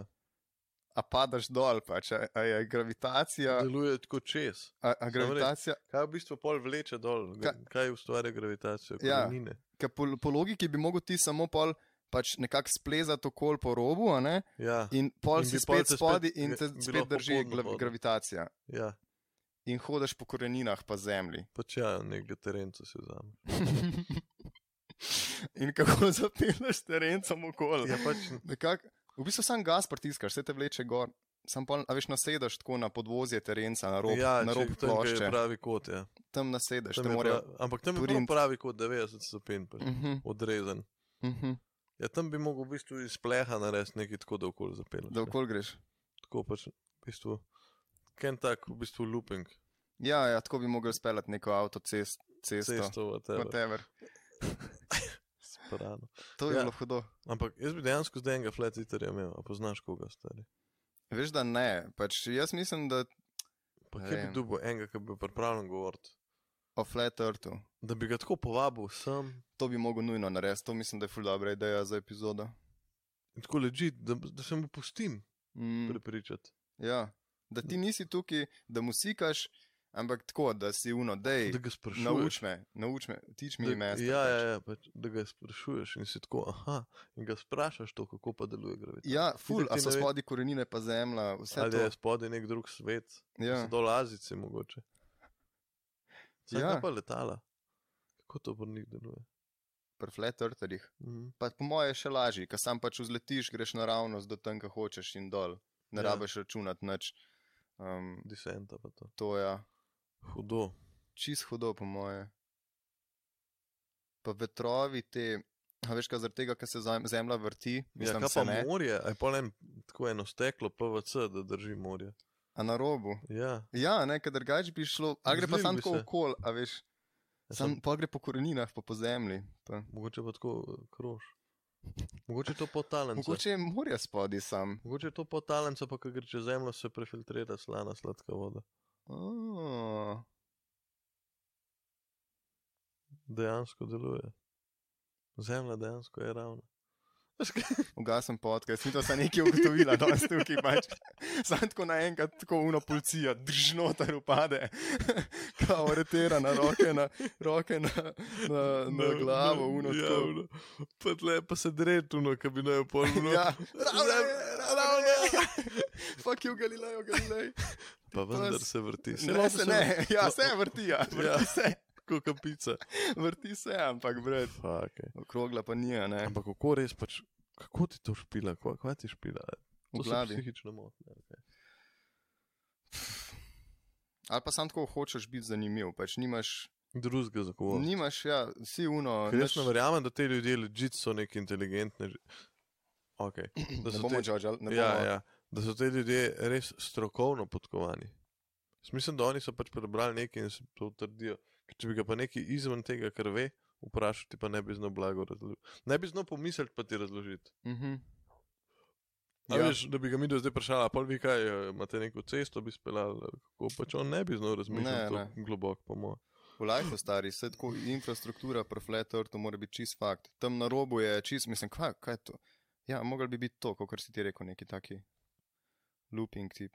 a padeš dol, pač, a, a je gravitacija, deluje tako čez. a, a gravitacija, Kaj v bistvu pol vleče dol, Ka... Ka- kaj ustvarja gravitacijo? Ja. Korenine. ki po, po logiki bi mogel ti samo pol pač nekako splezati okol po robu, a ne? Ja, in In pol in si bi pol spet te spet spodaj in gre- te bi spet lahko drži podno glav, hodil. gravitacija. ja. In hodiš po koreninah, pa zemlji. pač ja, nekaj terenca se vzame. in kako zapeleš terencem okol. Ja, pač, Nekak, v bistvu sam gas pritiskaš, vse te vleče gor. Sam pa, a veš, nasedeš tako na podvozje terenca, na rob, ja, na če- rob tam, kjer je plošče, prav kot. Ja. tam nasedeš, Tam tam je morajo. prav- Ampak tam je bil print. pravi kot 90 stopinj, pač. Mhm, odrezan. mhm. Ja, tam bi lahko v bistvu iz pleha naredil nekaj tako, da okoli zapelješ. Da okol greš. Tako pač v bistvu. Ken tak, v bistvu looping, Ja, ja, tako bi mogel speljati neko avtocesto. Cesto. cesto, vse Whatever. sprano. To je Ja. ja. bilo hudo. Ampak jaz bi dejansko zdaj enega flat twitterja imel, a poznaš koga stari. Veš, da ne. Pač jaz mislim, da Pa Ne kje bi vem. dubo enega, ki bi bil pripravljen govoriti. o flat earthu. Da bi ga tako povabil sem, To bi mogel nujno narediti. To mislim, da je ful dobra ideja za epizodo. in tako leži, da, da se mu pustim Mm, prepričati. ja. Da ti nisi tukaj, da mu sikaš, ampak tako, da si uno, dej. Da ga sprašuješ. Nauč me, nauč me, tič mi ime. ja, ja, ja, pač, da ga sprašuješ in si tako, aha, in ga sprašaš to, kako pa deluje gravitacija. Ja, ful, Itak a ti so ne ve- spodaj korenine, pa zemlja, vse Ali to. je spodaj nek drug svet, Ja. ja. dolazice mogoče. Zdaj Ja. ja. pa letala. Kako to pri njih deluje? Pri flat eartherjih. Mhm. Pa po moje je še lažje, ker sam pač vzletiš, greš naravnost do tam, kjer hočeš in dol. Ne Ja. ja. rabiš računati nič. Um, Disenta pa to. to je ja, Hudo. Ja, čist hudo, po moje. Pa vetrovi te, a veš, kaj zaradi tega, ker se zam- zemlja vrti, Ja, mislim, kaj se pa ne, morje, aj pa en, tako eno steklo PVC, da drži morje. a na robu. Ja, Ja, ne, ker drugače bi šlo, a gre pa Zlil samo bi tako se. okol, a veš, Ja, sam, samo- pa gre po koreninah, pa po zemlji. Pa. mogoče pa tako eh, krož. Mogoče je to potalen. Mogoče je morje spodaj sam. Mogoče je to potalen, pa ko gre čez zemljo, se prefiltrira slana sladka voda. Oh. Dejansko deluje. Zemlja dejansko je ravna. Veš kaj? Ugasem podcast, mi to sem nekaj ugotovila, da ste tukaj pač. Sam tako naenkrat, tako uno policija, držnotar upade, kao aretera na roke, na, roke na, na, na glavo, uno ja, tako. ono. Pa, tle, pa se dretuno, ki bi naj opolnil. Ja, ravno je, ravno je. Fuck you, Galileo, Galilei. Pa vendar s- se vrti. Ne, se ne, ja, se vrti, ja, Ja. vrti se, Kot kapica. vrti se, ampak bred. Fak, ej. Okrogla pa ni, a ne, Ampak kako res pač, kako ti to špila, kva, kva ti špila? v To so glavi. Psihično motnje. Okay. Ali pa sam tako hočeš biti zanimiv, pač nimaš, Drugega za kovo. nimaš, ja, si uno. Jaz nič- ne verjamem, da te ljudje ležit so neki inteligentni. že- Okay. Da Ne so bomo te- džodžali, ne bomo. Ja, ja, da so te ljudje res strokovno podkovani. Jaz Mislim, da oni so pač prebrali nekaj in se to utrdijo. Ker če bi ga pa neki izven tega, kar ve, vprašal, ti pa ne bi znal blago razložiti. Ne bi znal pomisliti, pa ti razložiti. Mhm. Ja. Veš, da bi ga mi do zdaj vprašali, pa vi kaj, eh, imate neko cesto, bi speljali, eh, kako pač on ne bi znal Ne, razmišljati ne. globoko, po mojem. V lajfu stari, vse tako infrastruktura, profletorto mora biti čist fakt. Tam na robu je čist, mislim, kaj, kaj je to? Ja, mogel bi biti to, kot si ti rekel, neki taki looping tip.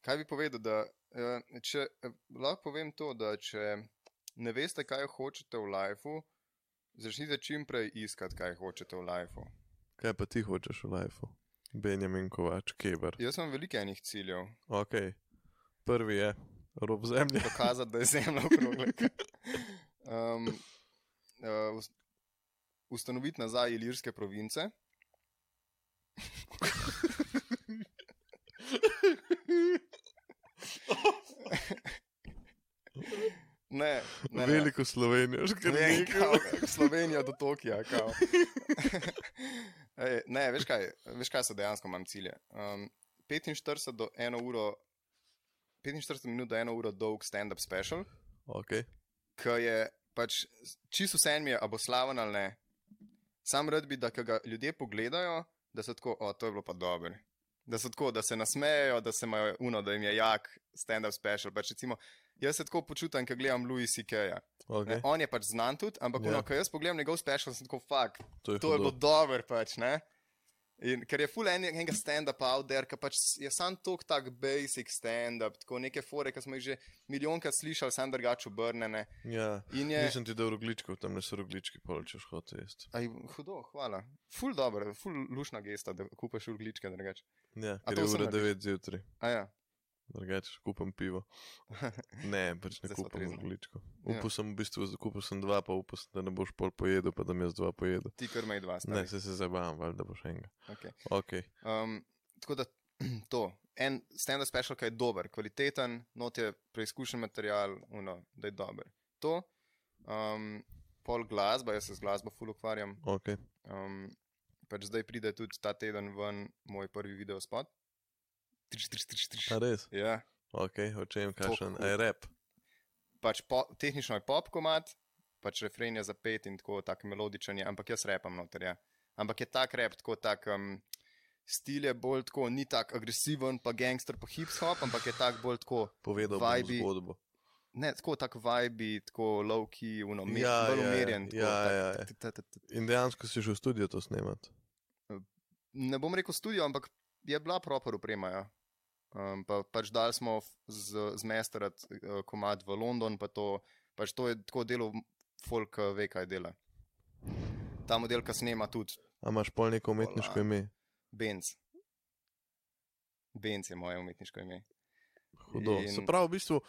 Kaj bi povedal, da eh, če, eh, lahko povem to, da če ne veste, kaj hočete v lajfu, začnite čim prej iskati, kaj hočete v lajfu. Kaj pa ti hočeš v lifeu? Benjamin Kovač, Keber. Jaz imam veliko enih ciljev, Okay. Prvi je rob zemlje. dokazati, da je zemlja okrogla. Um, uh, ustanoviti nazaj ilirske province. Ne, ne, ne. Veliko Slovenijo, že Ne, nekaj. kao, Slovenija do Tokija. kao. Ej, ne, veš kaj, veš kaj so dejansko imam cilje. Um, 45 do 1 uro, 45 minut do 1 uro dolg stand-up special, Okay. ki je pač čisto vse mi je, a bo slaven ali ne. Sam rad bi, da ko ga ljudje pogledajo, da so tako, o, to je bilo pa dobro. Da so tako, da se nasmejejo, da se imajo uno, da jim je jak stand-up special. Pač recimo, jaz se tako počutim, ko gledam Louis C.K.-ja. Okay. Okay. On je pač znan tudi, ampak Ja. yeah. ko jaz pogledam njegov special, sem tako, fuck, To je, to je hudo. bilo dobro, pač, ne. In ker je full en- enega stand-upa out there, ki pač s- je sam tok tak basic stand-up, tako neke fore, ki smo jih že milijonkrat slišali, sam drugače obrnjene. Ja. In je... Nisem ti dal rogličkov, tam ne so roglički, pol češ hoče jesti. Aj, hudo, hvala. Ful dobro, ful lušna gesta, da kupaš urgličke drugače. Ja, A ker to je sem ura naredil. 9 zjutraj, A ja, drugače kupam pivo. Ne, pač ne Zdaj sva kupam trezni. rogličkov. Ja. Upal sem v bistvu, kupil sem dva, pa upal sem, da ne boš pol pojedel, pa da mi jaz dva pojedel. ti krmaj dva Ne, se sta. se zabavam, valjda boš enega. Okay. Okay. Um, tako da to. En stand-up special, ki je dober, kvaliteten, not je preizkušen material, uno, da je dober. To, um, pol glasba, jaz se z glasbo ful ukvarjam. Okay. Um, pač zdaj pride tudi ta teden ven moj prvi video spot. Triš, triš, triš, triš. A res? Ja, Ok, o čem To kakšen? cool. Aj rep. pač po, tehnično je pop komat, pač refren je zapet in tako, tako melodičen je, ampak jaz repam noter. Ja. Ampak je tak rep, tako tak. Um, Stil je bolj tako, ni tako agresiven, pa gangster, pa hip hop, ampak je tako bolj tako, Povedal bom Vajbi, zgodbo. ne, tako tako vibe, tako low key, uno, mer, Ja, ja, bolj ja, ja, umirjen. tako, ja, tak- ja, ja. t- t- t- t- In dejansko si šel v studio to snemati. ne bom rekel studio, ampak je bila proper uprema. Ja. Um, pa, pač dal smo f- z, z mesterat uh, komad v London, pa to, pač to je tako delo, folk eh, ve, kaj dela. Ta model, ki snema tudi A imaš pol neko umetniško Ola. ime? Benz. Benz je moje umetniško ime. Hudo. In... Se In- pravi, v bistvu,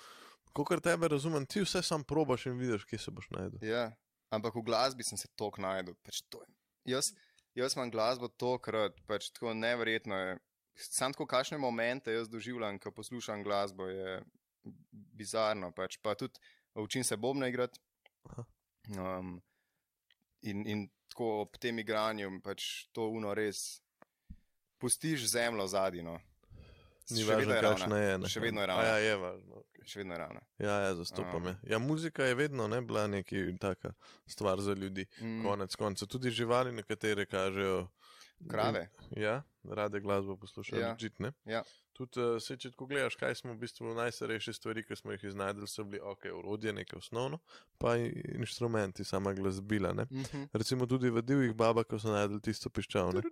kot tebe razumem, ti vse sam probaš in vidiš, kje se boš najdel. Ja. Ampak v glasbi sem se tok najdel. Pač to je- jaz, jaz imam glasbo tokrat, pač tako neverjetno je. Sam tako kakšne momente jaz doživljam, ko poslušam glasbo, je bizarno. Pač. Pa tudi učim se bobna igrati. Aha. Um, in, in tako ob tem igranju, pač to uno res. Pustiš zemljo no. zadino. Ni važno, kakšna je. ne. Še vedno je ravna. A Ja, je važno. okej. Še vedno je ravna. Ja, ja, zastopam. Ja. Ja. ja, muzika je vedno ne bila neki taka stvar za ljudi. Mm, Konec konca. Tudi živali, nekatere kažejo. krave. Ja, rade glasbo poslušajo, Ja. ja. žitne. Ja. Tudi, eh, saj, če tako gledaš, kaj smo v bistvu najstarejše stvari, ki smo jih iznajdeli, so bili ok, urodje, nekaj osnovno, pa in- inštrumenti, sama glasbila. Ne? Mhm. Recimo tudi v divjih babah, ko so najdel tisto piščalno.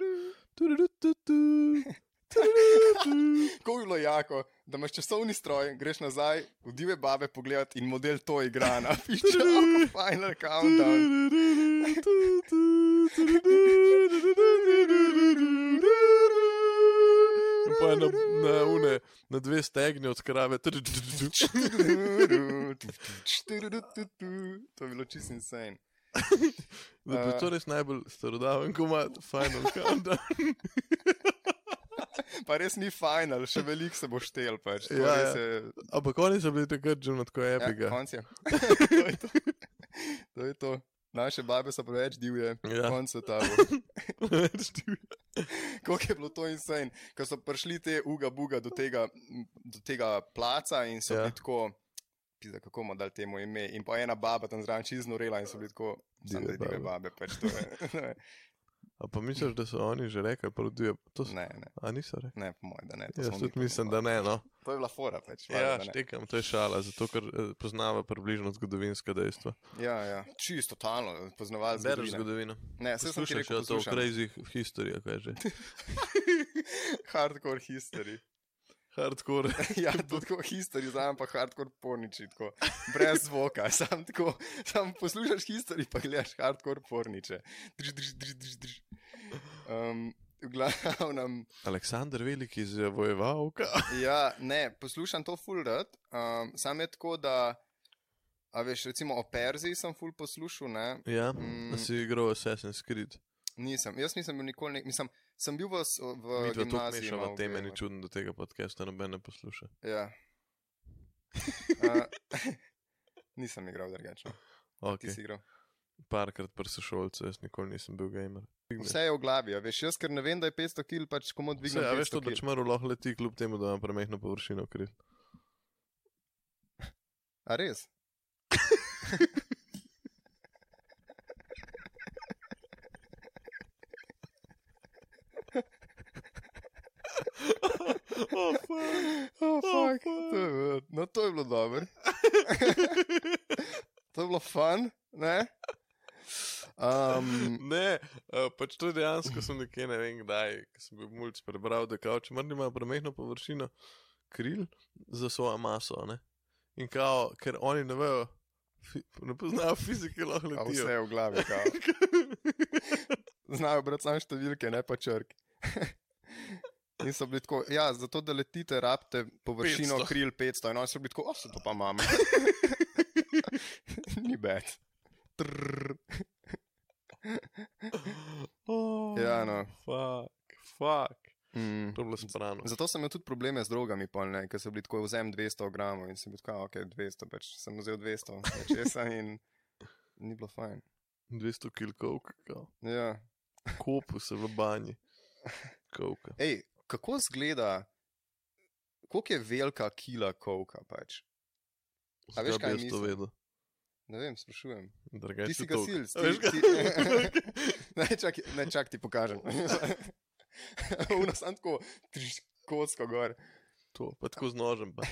Tududu. Kako je bilo jako, da imaš časovni stroj, greš nazaj v dive babe pogledati in model to igra na pišče, final countdown. In pa na, na, une, na dve stegni od krave. To je bilo čisto insane. Da bi Eh. to res najbolj starodaven komat, final countdown. Pa res ni final, še veliko se bo štel. Pač. To Ja, res ja. je- Ampak oni so bili takrat že na tako Ja, epiga. konc je. To je to. To je to. Naše babe so preveč divje, Ja. konc sveta. bo. Kako je bilo to insane, ko so prišli te uga buga do tega, do tega placa in so Ja. ja. bili tako, pizda, kako bomo dali temu ime. In pa ena baba tam zraven čiznorela in so bili tako, samo da Dive dive babe. babe, pač to je. A pa misliš, da so oni že rekli, prvo dve? To so, ne, ne, a niso rekli? ne, po mojem, da ne. to Jaz smo mi Ja, tudi pa- mislim, da ne. No. To je bila fora, pač. valjda, Ja, da ne. štekam, to je šala, zato ker eh, poznava približno zgodovinska dejstva. ja, ja. Čisto totalno, poznavalec. Bereš zgodovine. zgodovino. Ne, se Ja, sem ti Poslušaj, če rekel, je to v poslušam. crazy history, kaj že. Hardcore history. Hardcore. Ja, to tako history, zdaj pa hardcore porniči, tako brez zvoka, sam tako, sam poslušaš history, pa gledaš hardcore porniče. Drž, drž, drž, drž, drž. Um, v glavnem, Aleksandar Veliki je vojeval, ja, ne, poslušam to full rad, um, sam je tako, da, a veš, recimo o Perziji sem full poslušal, ne, ja, Mm. mm. si igral Assassin's Creed. nisem, jaz nisem bil nikoli, ne, mislim, sem bil v, s- v Mi dva to gimnaziji. mešava malo teme, v- ni čudno, da tega podcasta noben ne posluša. Ja. Uh, nisem igral drugače, no. ti Okay. si igral. Parkrat prsušolce, jaz nikoli nisem bil gamer. Vse je v glavi, a veš, ješ, ker ne vem, da je 500 kil, pač komu Vse, dvigneš. a veš to, da čmrl lahko leti, kljub temu, da ima premehno površino kril. A res? Oh, fuck. Oh, fuck. fuck. To je bilo- no, to je bilo dobro. to je bilo fun, ne? Um, Ne, eh, pač to je dejansko sem nekje, ne vem kdaj, ko sem bil mulj prebral, da kao, če mrni ima premehno površino kril za svojo maso, ne. In kao, ker oni ne vejo, fi- ne poznajo fizike, lahko a letijo. vse je v glavi, kao. Znajo brati samo številke, ne pa črke. In so bili tako, ja, zato da letite, rabite površino 500. 500. kril 500, in oni so bili tako, o, se to pa imam. Ni bed. Oh, Ja, no. Fuck, fuck. Mm. To je bilo sprano. Zato sem imel tudi probleme z drogami, polne, ker sem bil tako vzem 200 gramov in sem bil tako, ok, 200, pač sem vzel 200 nečesa in ni bilo fajn. 200 kg kavka, kao. Ja. kopu se v banji. Kavka. Ej, kako zgleda, koliko je velika kila koka pač? A veš, Zdaj bi kaj jaz to mislim? vedel? Ne vem, sprašujem. Drugače Ti si je to- gasilec, A ti- veš kaj? ti- Ne, čak, ne, čak ti pokažem. Uno sem tako, triš, kocko gor. To, pa tako z nožem. Pa.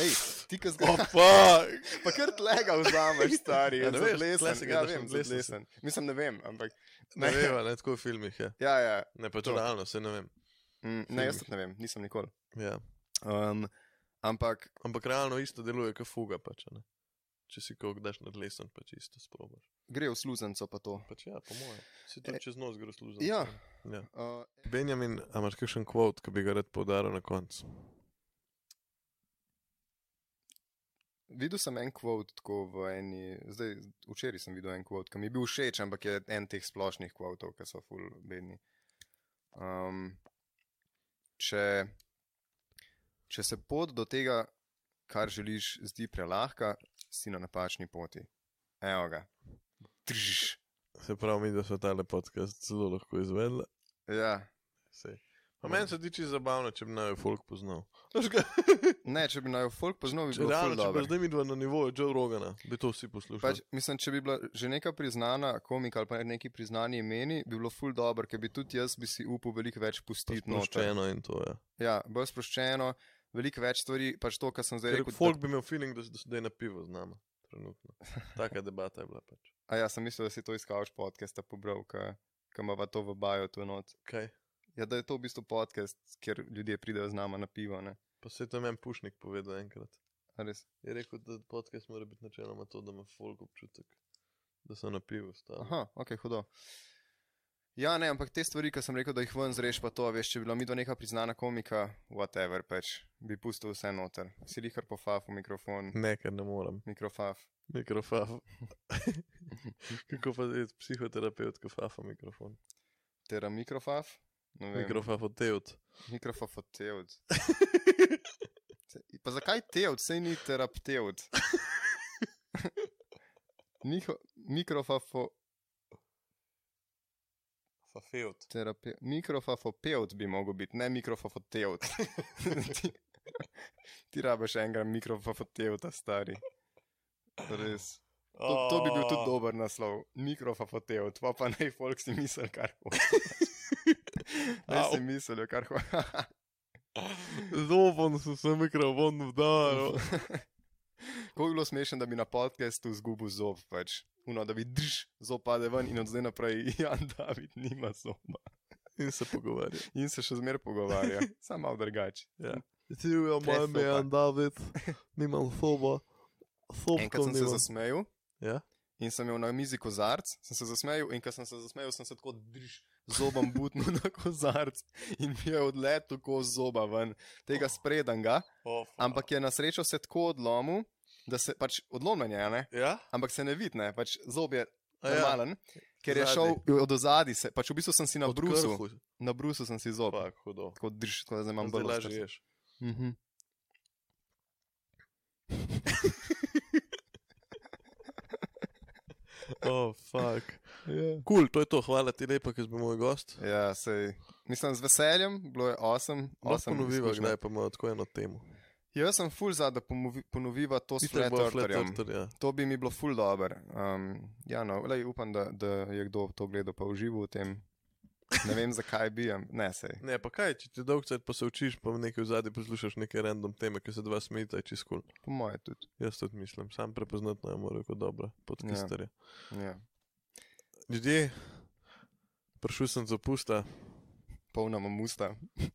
Ej, ti, Oh, ki zgledaš. fuck! Pa kar tlega vzameš, stari, A ja, ne ne veš, veš, tule se lesen, ga ja, drži, vem, odlesen sem. lesen. Mislim, ne vem, ampak. Ne Ne. vem, a ne tako v filmih. Ja. Ja, ja. Ne, pač To. realno, se ne vem. Mm, ne, jaz tudi ne vem, nisem nikoli. Ja. Um, ampak, Ampak realno isto deluje, kot fuga. Pač, a ne. Če si koga daš nad lesom, pač isto sprobaš. gre v sluznico pa to. Pač ja, po mojem. Si tudi čez nos gre služiti. Ja. ja. Uh, Benjamin, a imaš kakšen kvot, ki bi ga rad podaril na koncu? videl sem en kvot tako v eni, zdaj, včeraj sem videl en kvot, ki mi je bil všeč, ampak je en teh splošnih kvotov, ki so full bedni. Um, če, če se pot do tega, kar želiš, zdi prelahka, si na napačni poti. Evo ga. Tržiš. Se pravi, mi, da so ta podcast zelo lahko izvedla. Ja. Sej. A meni se tiče zabavno, če bi naj folk poznal. Veš kaj? Ne, če bi naj folk poznal, bi Če, bilo realno, zelo če bi dobro. zdaj mi dva na nivoju Joe Rogana, bi to vsi poslušali. Pač, mislim, če bi bila že neka priznana komika ali pa neki priznani imeni, bi bilo ful dobro, ker bi tudi jaz bi si upal veliko več pustiti noter. nočeno in to je. Ja, bolj sproščeno, veliko več stvari, pač to, kar sem zdaj Ker rekel. folk bi imel feeling, da, s- da, s- da je na pivo z nami. Trenutno. Taka debata je bila pač. Da, a ja, sem mislil, da si to iskal v podkastu, pobral, ki ima to v baju tu not. Kaj? Ja, da je to v bistvu podcast, kjer ljudje pridejo z nama na pivo, ne? Pa se je to meni Pušnik povedal enkrat. A Res. Je rekel, da podcast mora biti načeloma to, da ima folk občutek, da so na pivo stali. Aha, ok, hudo. Ja, ne, ampak te stvari, ki sem rekel, da jih ven zreš, pa to, veš, če bi bila midva neka priznana komika, whatever, pač, bi pustil vse noter. Si lihar pofaf v mikrofon, Ne, ker ne morem. mikrofaf. Mikrofaf. Kako pa je psihoterapeutka fafa mikrofon? Tera mikrofaf? Ne vem. Mikrofaf od teot. Mikrofaf od teod. Pa zakaj teod, sej ni terapteud? Niho, mikrofafo, Fafeot. terape, mikrofafopeut bi mogel biti, ne mikrofafoteut. ti, ti rabiš enega mikrofafoteuta, stari. Res. To, to bi bil tudi dober naslov, mikrofafoteut, pa pa naj folk si misli, kar hoče. Naj Au. si mislijo, kar hoče. Zoban sem se mikrofon vdaril. Ko bi bilo smešno, da bi na podkastu zgubil zob, pač. Uno, da bi drž, zob pade ven in od zdaj naprej Jan David nima zoba. In se pogovarja. In se še zmer pogovarja, samo malo drugače. Živijo Brez moj soba. ime je David, nimam soba. Sobko Enkrat sem se nimam. zasmejal Ja? in sem imel na mizi kozarc, sem se zasmejal in ko sem se zasmejal, sem se tako drž. Zobom butno na kozarc in mi je odletel ko zoba ven, Oh. tega spredam ga, ampak je na srečo se tako odlomil, da se pač odlomljen je, a ne? Ja? ampak se ne vidi, ne, pač zob je A ja. normalen, ja. ker je Zadaj. šel od ozadij, se- pač v bistvu sem si na brusu, Krfu. na brusu sem si zob, Pa, hudo. tako drž, tako da zdaj imam Zdaj bolj lažje ješ. Mhm. Oh, fuck. Ja. Kul, cool, to je to, hvala ti lepa, ker si bil moj gost. Ja, sej, mislim, z veseljem, bilo je 8, Lahko 8 ponoviva, kdaj pa imamo tako eno temo. Jaz sem full za, da pomovi- ponoviva to s Itak bo Flatorjem. Flat Earther, ja. To bi mi bilo full dobro. Um, ja, no, lej, upam, da, da je kdo to gledal pa užival v tem. Ne vem, zakaj bijem, ne sej. Ne, pa kaj, če ti dolg cajt pa se učiš, pa nekaj v zadnji poslušaš neke random teme, ki se dva smejita, je čist kul. Cool. Po moje tudi. Jaz tudi mislim, sam prepoznatno je moral kot dobra, podkistarja. Ja. Yeah. Ljudje, prišel sem za pusta, Polna imam usta,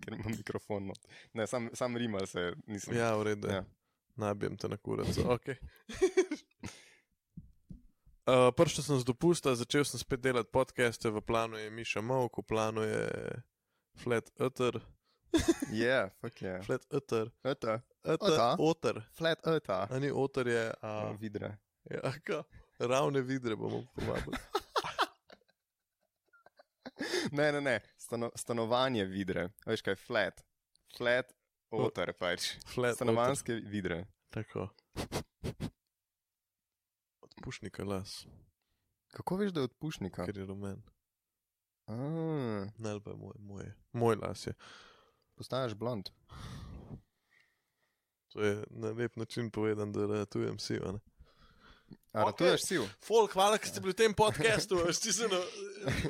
ker imam mikrofon. Not. Ne, sam, sam rimal se nisem. ja, v redu. Ja. Yeah. Nabijem te na kuraco, ok. Uh, Prišel sem z dopusta, začel sem spet delati podcaste, v planu je Miša Mavk, v planu je Flat Utter, Yeah, fuck yeah. Flat Utter, Eta, Utter, Utter? Otter, flat eta. a ni Otter je, a, Vidre. ja, ka, ravne vidre bomo povabili. Ne, ne, ne, Stano, stanovanje vidre. Veš kaj, flat. Flat, otar pač. Flat Utter. Stanovanske vidre. Tako. Odpušnika las, Kako veš, da je odpušnika? ker je rumen. Ah, Ne, ali pa je moj, moj, moj las je. postaješ blond. To je na lep način povedan, da ratujem si. a ne. A ratuješ siv? Folk, hvala, ker ste bili v tem podkastu, ste se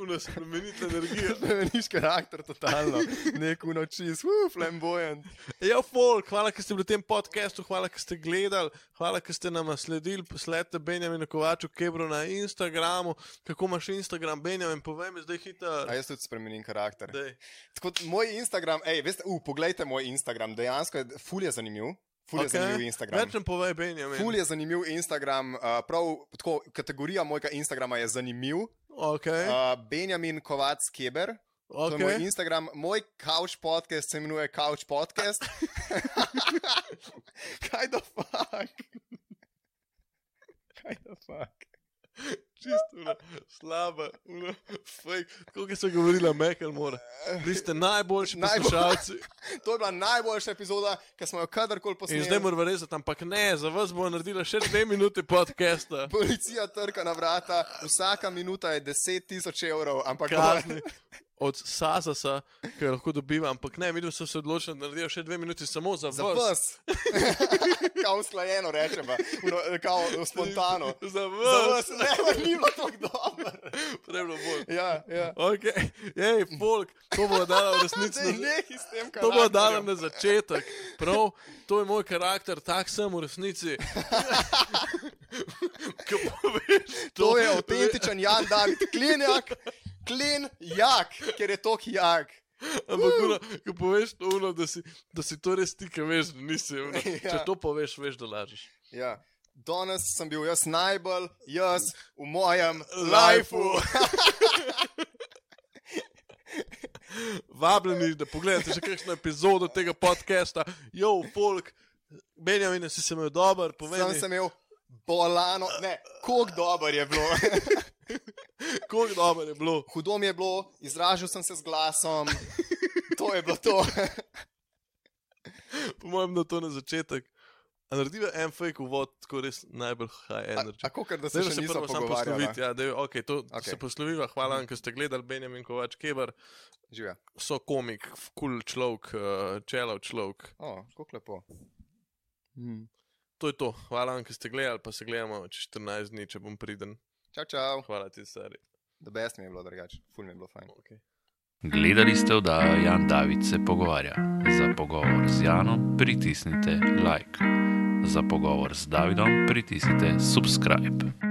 nas spremenili energijo. Spremeniš karakter totalno, nek unočis, uf, flamboyant. Ja, folk, hvala, ker ste bili v tem podkastu, hvala, ker ste gledali, hvala, ker ste nam sledili. Sledite Benjaminu Kovaču Kebru na Instagramu. Kako imaš Instagram, Benjamin, povej mi zdaj hitro. A jaz tudi spremenim karakter. Daj. Tako, da moj Instagram, hej, veste, uh, poglejte moj Instagram, dejansko je ful je zanimiv. Ful je okay. Okej. zanimiv Instagram. Več nam povej, Benjamin. Ful je zanimiv Instagram, uh, prav tako kategorija mojega Instagrama je zanimiv. Uh, Okay, Benjamin Kovac Keber, to je moj okay. Instagram, moj couch podcast se imenuje Couch Podcast. Kaj da fuck? Kaj da fuck? Čisto una, slaba, una, fake. Kako se je govorila, Mekel mora. Vi ste najboljši Najbolj- poslušalci. To je bila najboljša epizoda, ki smo jo kadarkoli In zdaj posneli. moram rezati, ampak ne, za vas bo naredila še dve minuti podcasta. Policija trka na vrata, vsaka minuta je 10 tisoč evrov, ampak Kazni od Sasasa, ki jo lahko dobiva, ampak ne, videl sem se odločen, da naredijo še dve minuti samo za vas. Za vas. kao usklajeno rečem, a, uno, kao spontano. Za Za vas. vas, ne, ni bilo tako dobro. Trebno bolj. Ja, ja. Ok, jej, folk, to bo dala v resnici. na- Zdaj nehi s tem, kaj To bo dala na začetek, prav, to je moj karakter, tak sem v resnici. Ko poveš To je avtentičen Jan David Klinjak, Klinjak, ker je tok jak. Ampak, uno, ko poveš to, uno, da, si, da si to res ti, ki veš, da nisi. Uno. Če Ja. to poveš, veš, da lažeš. Ja. Danes sem bil jaz najbolj jaz v mojem lifeu. Vabljeni, da pogledate še kakšno epizodo tega podcasta, jo, folk, Benjamin, si se imel dober, povej Sam mi, sem imel bolano, ne, koliko dober je bilo. koliko dober je bilo. Hudo mi je bilo, izražal sem se z glasom. To je bilo to. Po mojem, da to na začetek. A narediva en fake uvod, tako res najbolj high energy. Tako, da se Zdaj še se nismo prvo sam pogovarjali. posloviti, ja, da okay, to okay. Okej. se posloviva, hvala vam, ker ste gledali Benjamin Kovač Kebar, Živijo. so komik, kul cool človek, eh, čelav človek. O, kako lepo. Hmm. To je to, hvala vam, ker ste gledali, pa se gledamo čez 14 dni, če bom priden. Čau, čau. Hvala ti, stari. Da best mi je bilo drugače, ful mi je bilo fajn. Okay. Gledali ste oddajo Jan David se pogovarja. Za pogovor z Janom pritisnite like, za pogovor z Davidom pritisnite subscribe.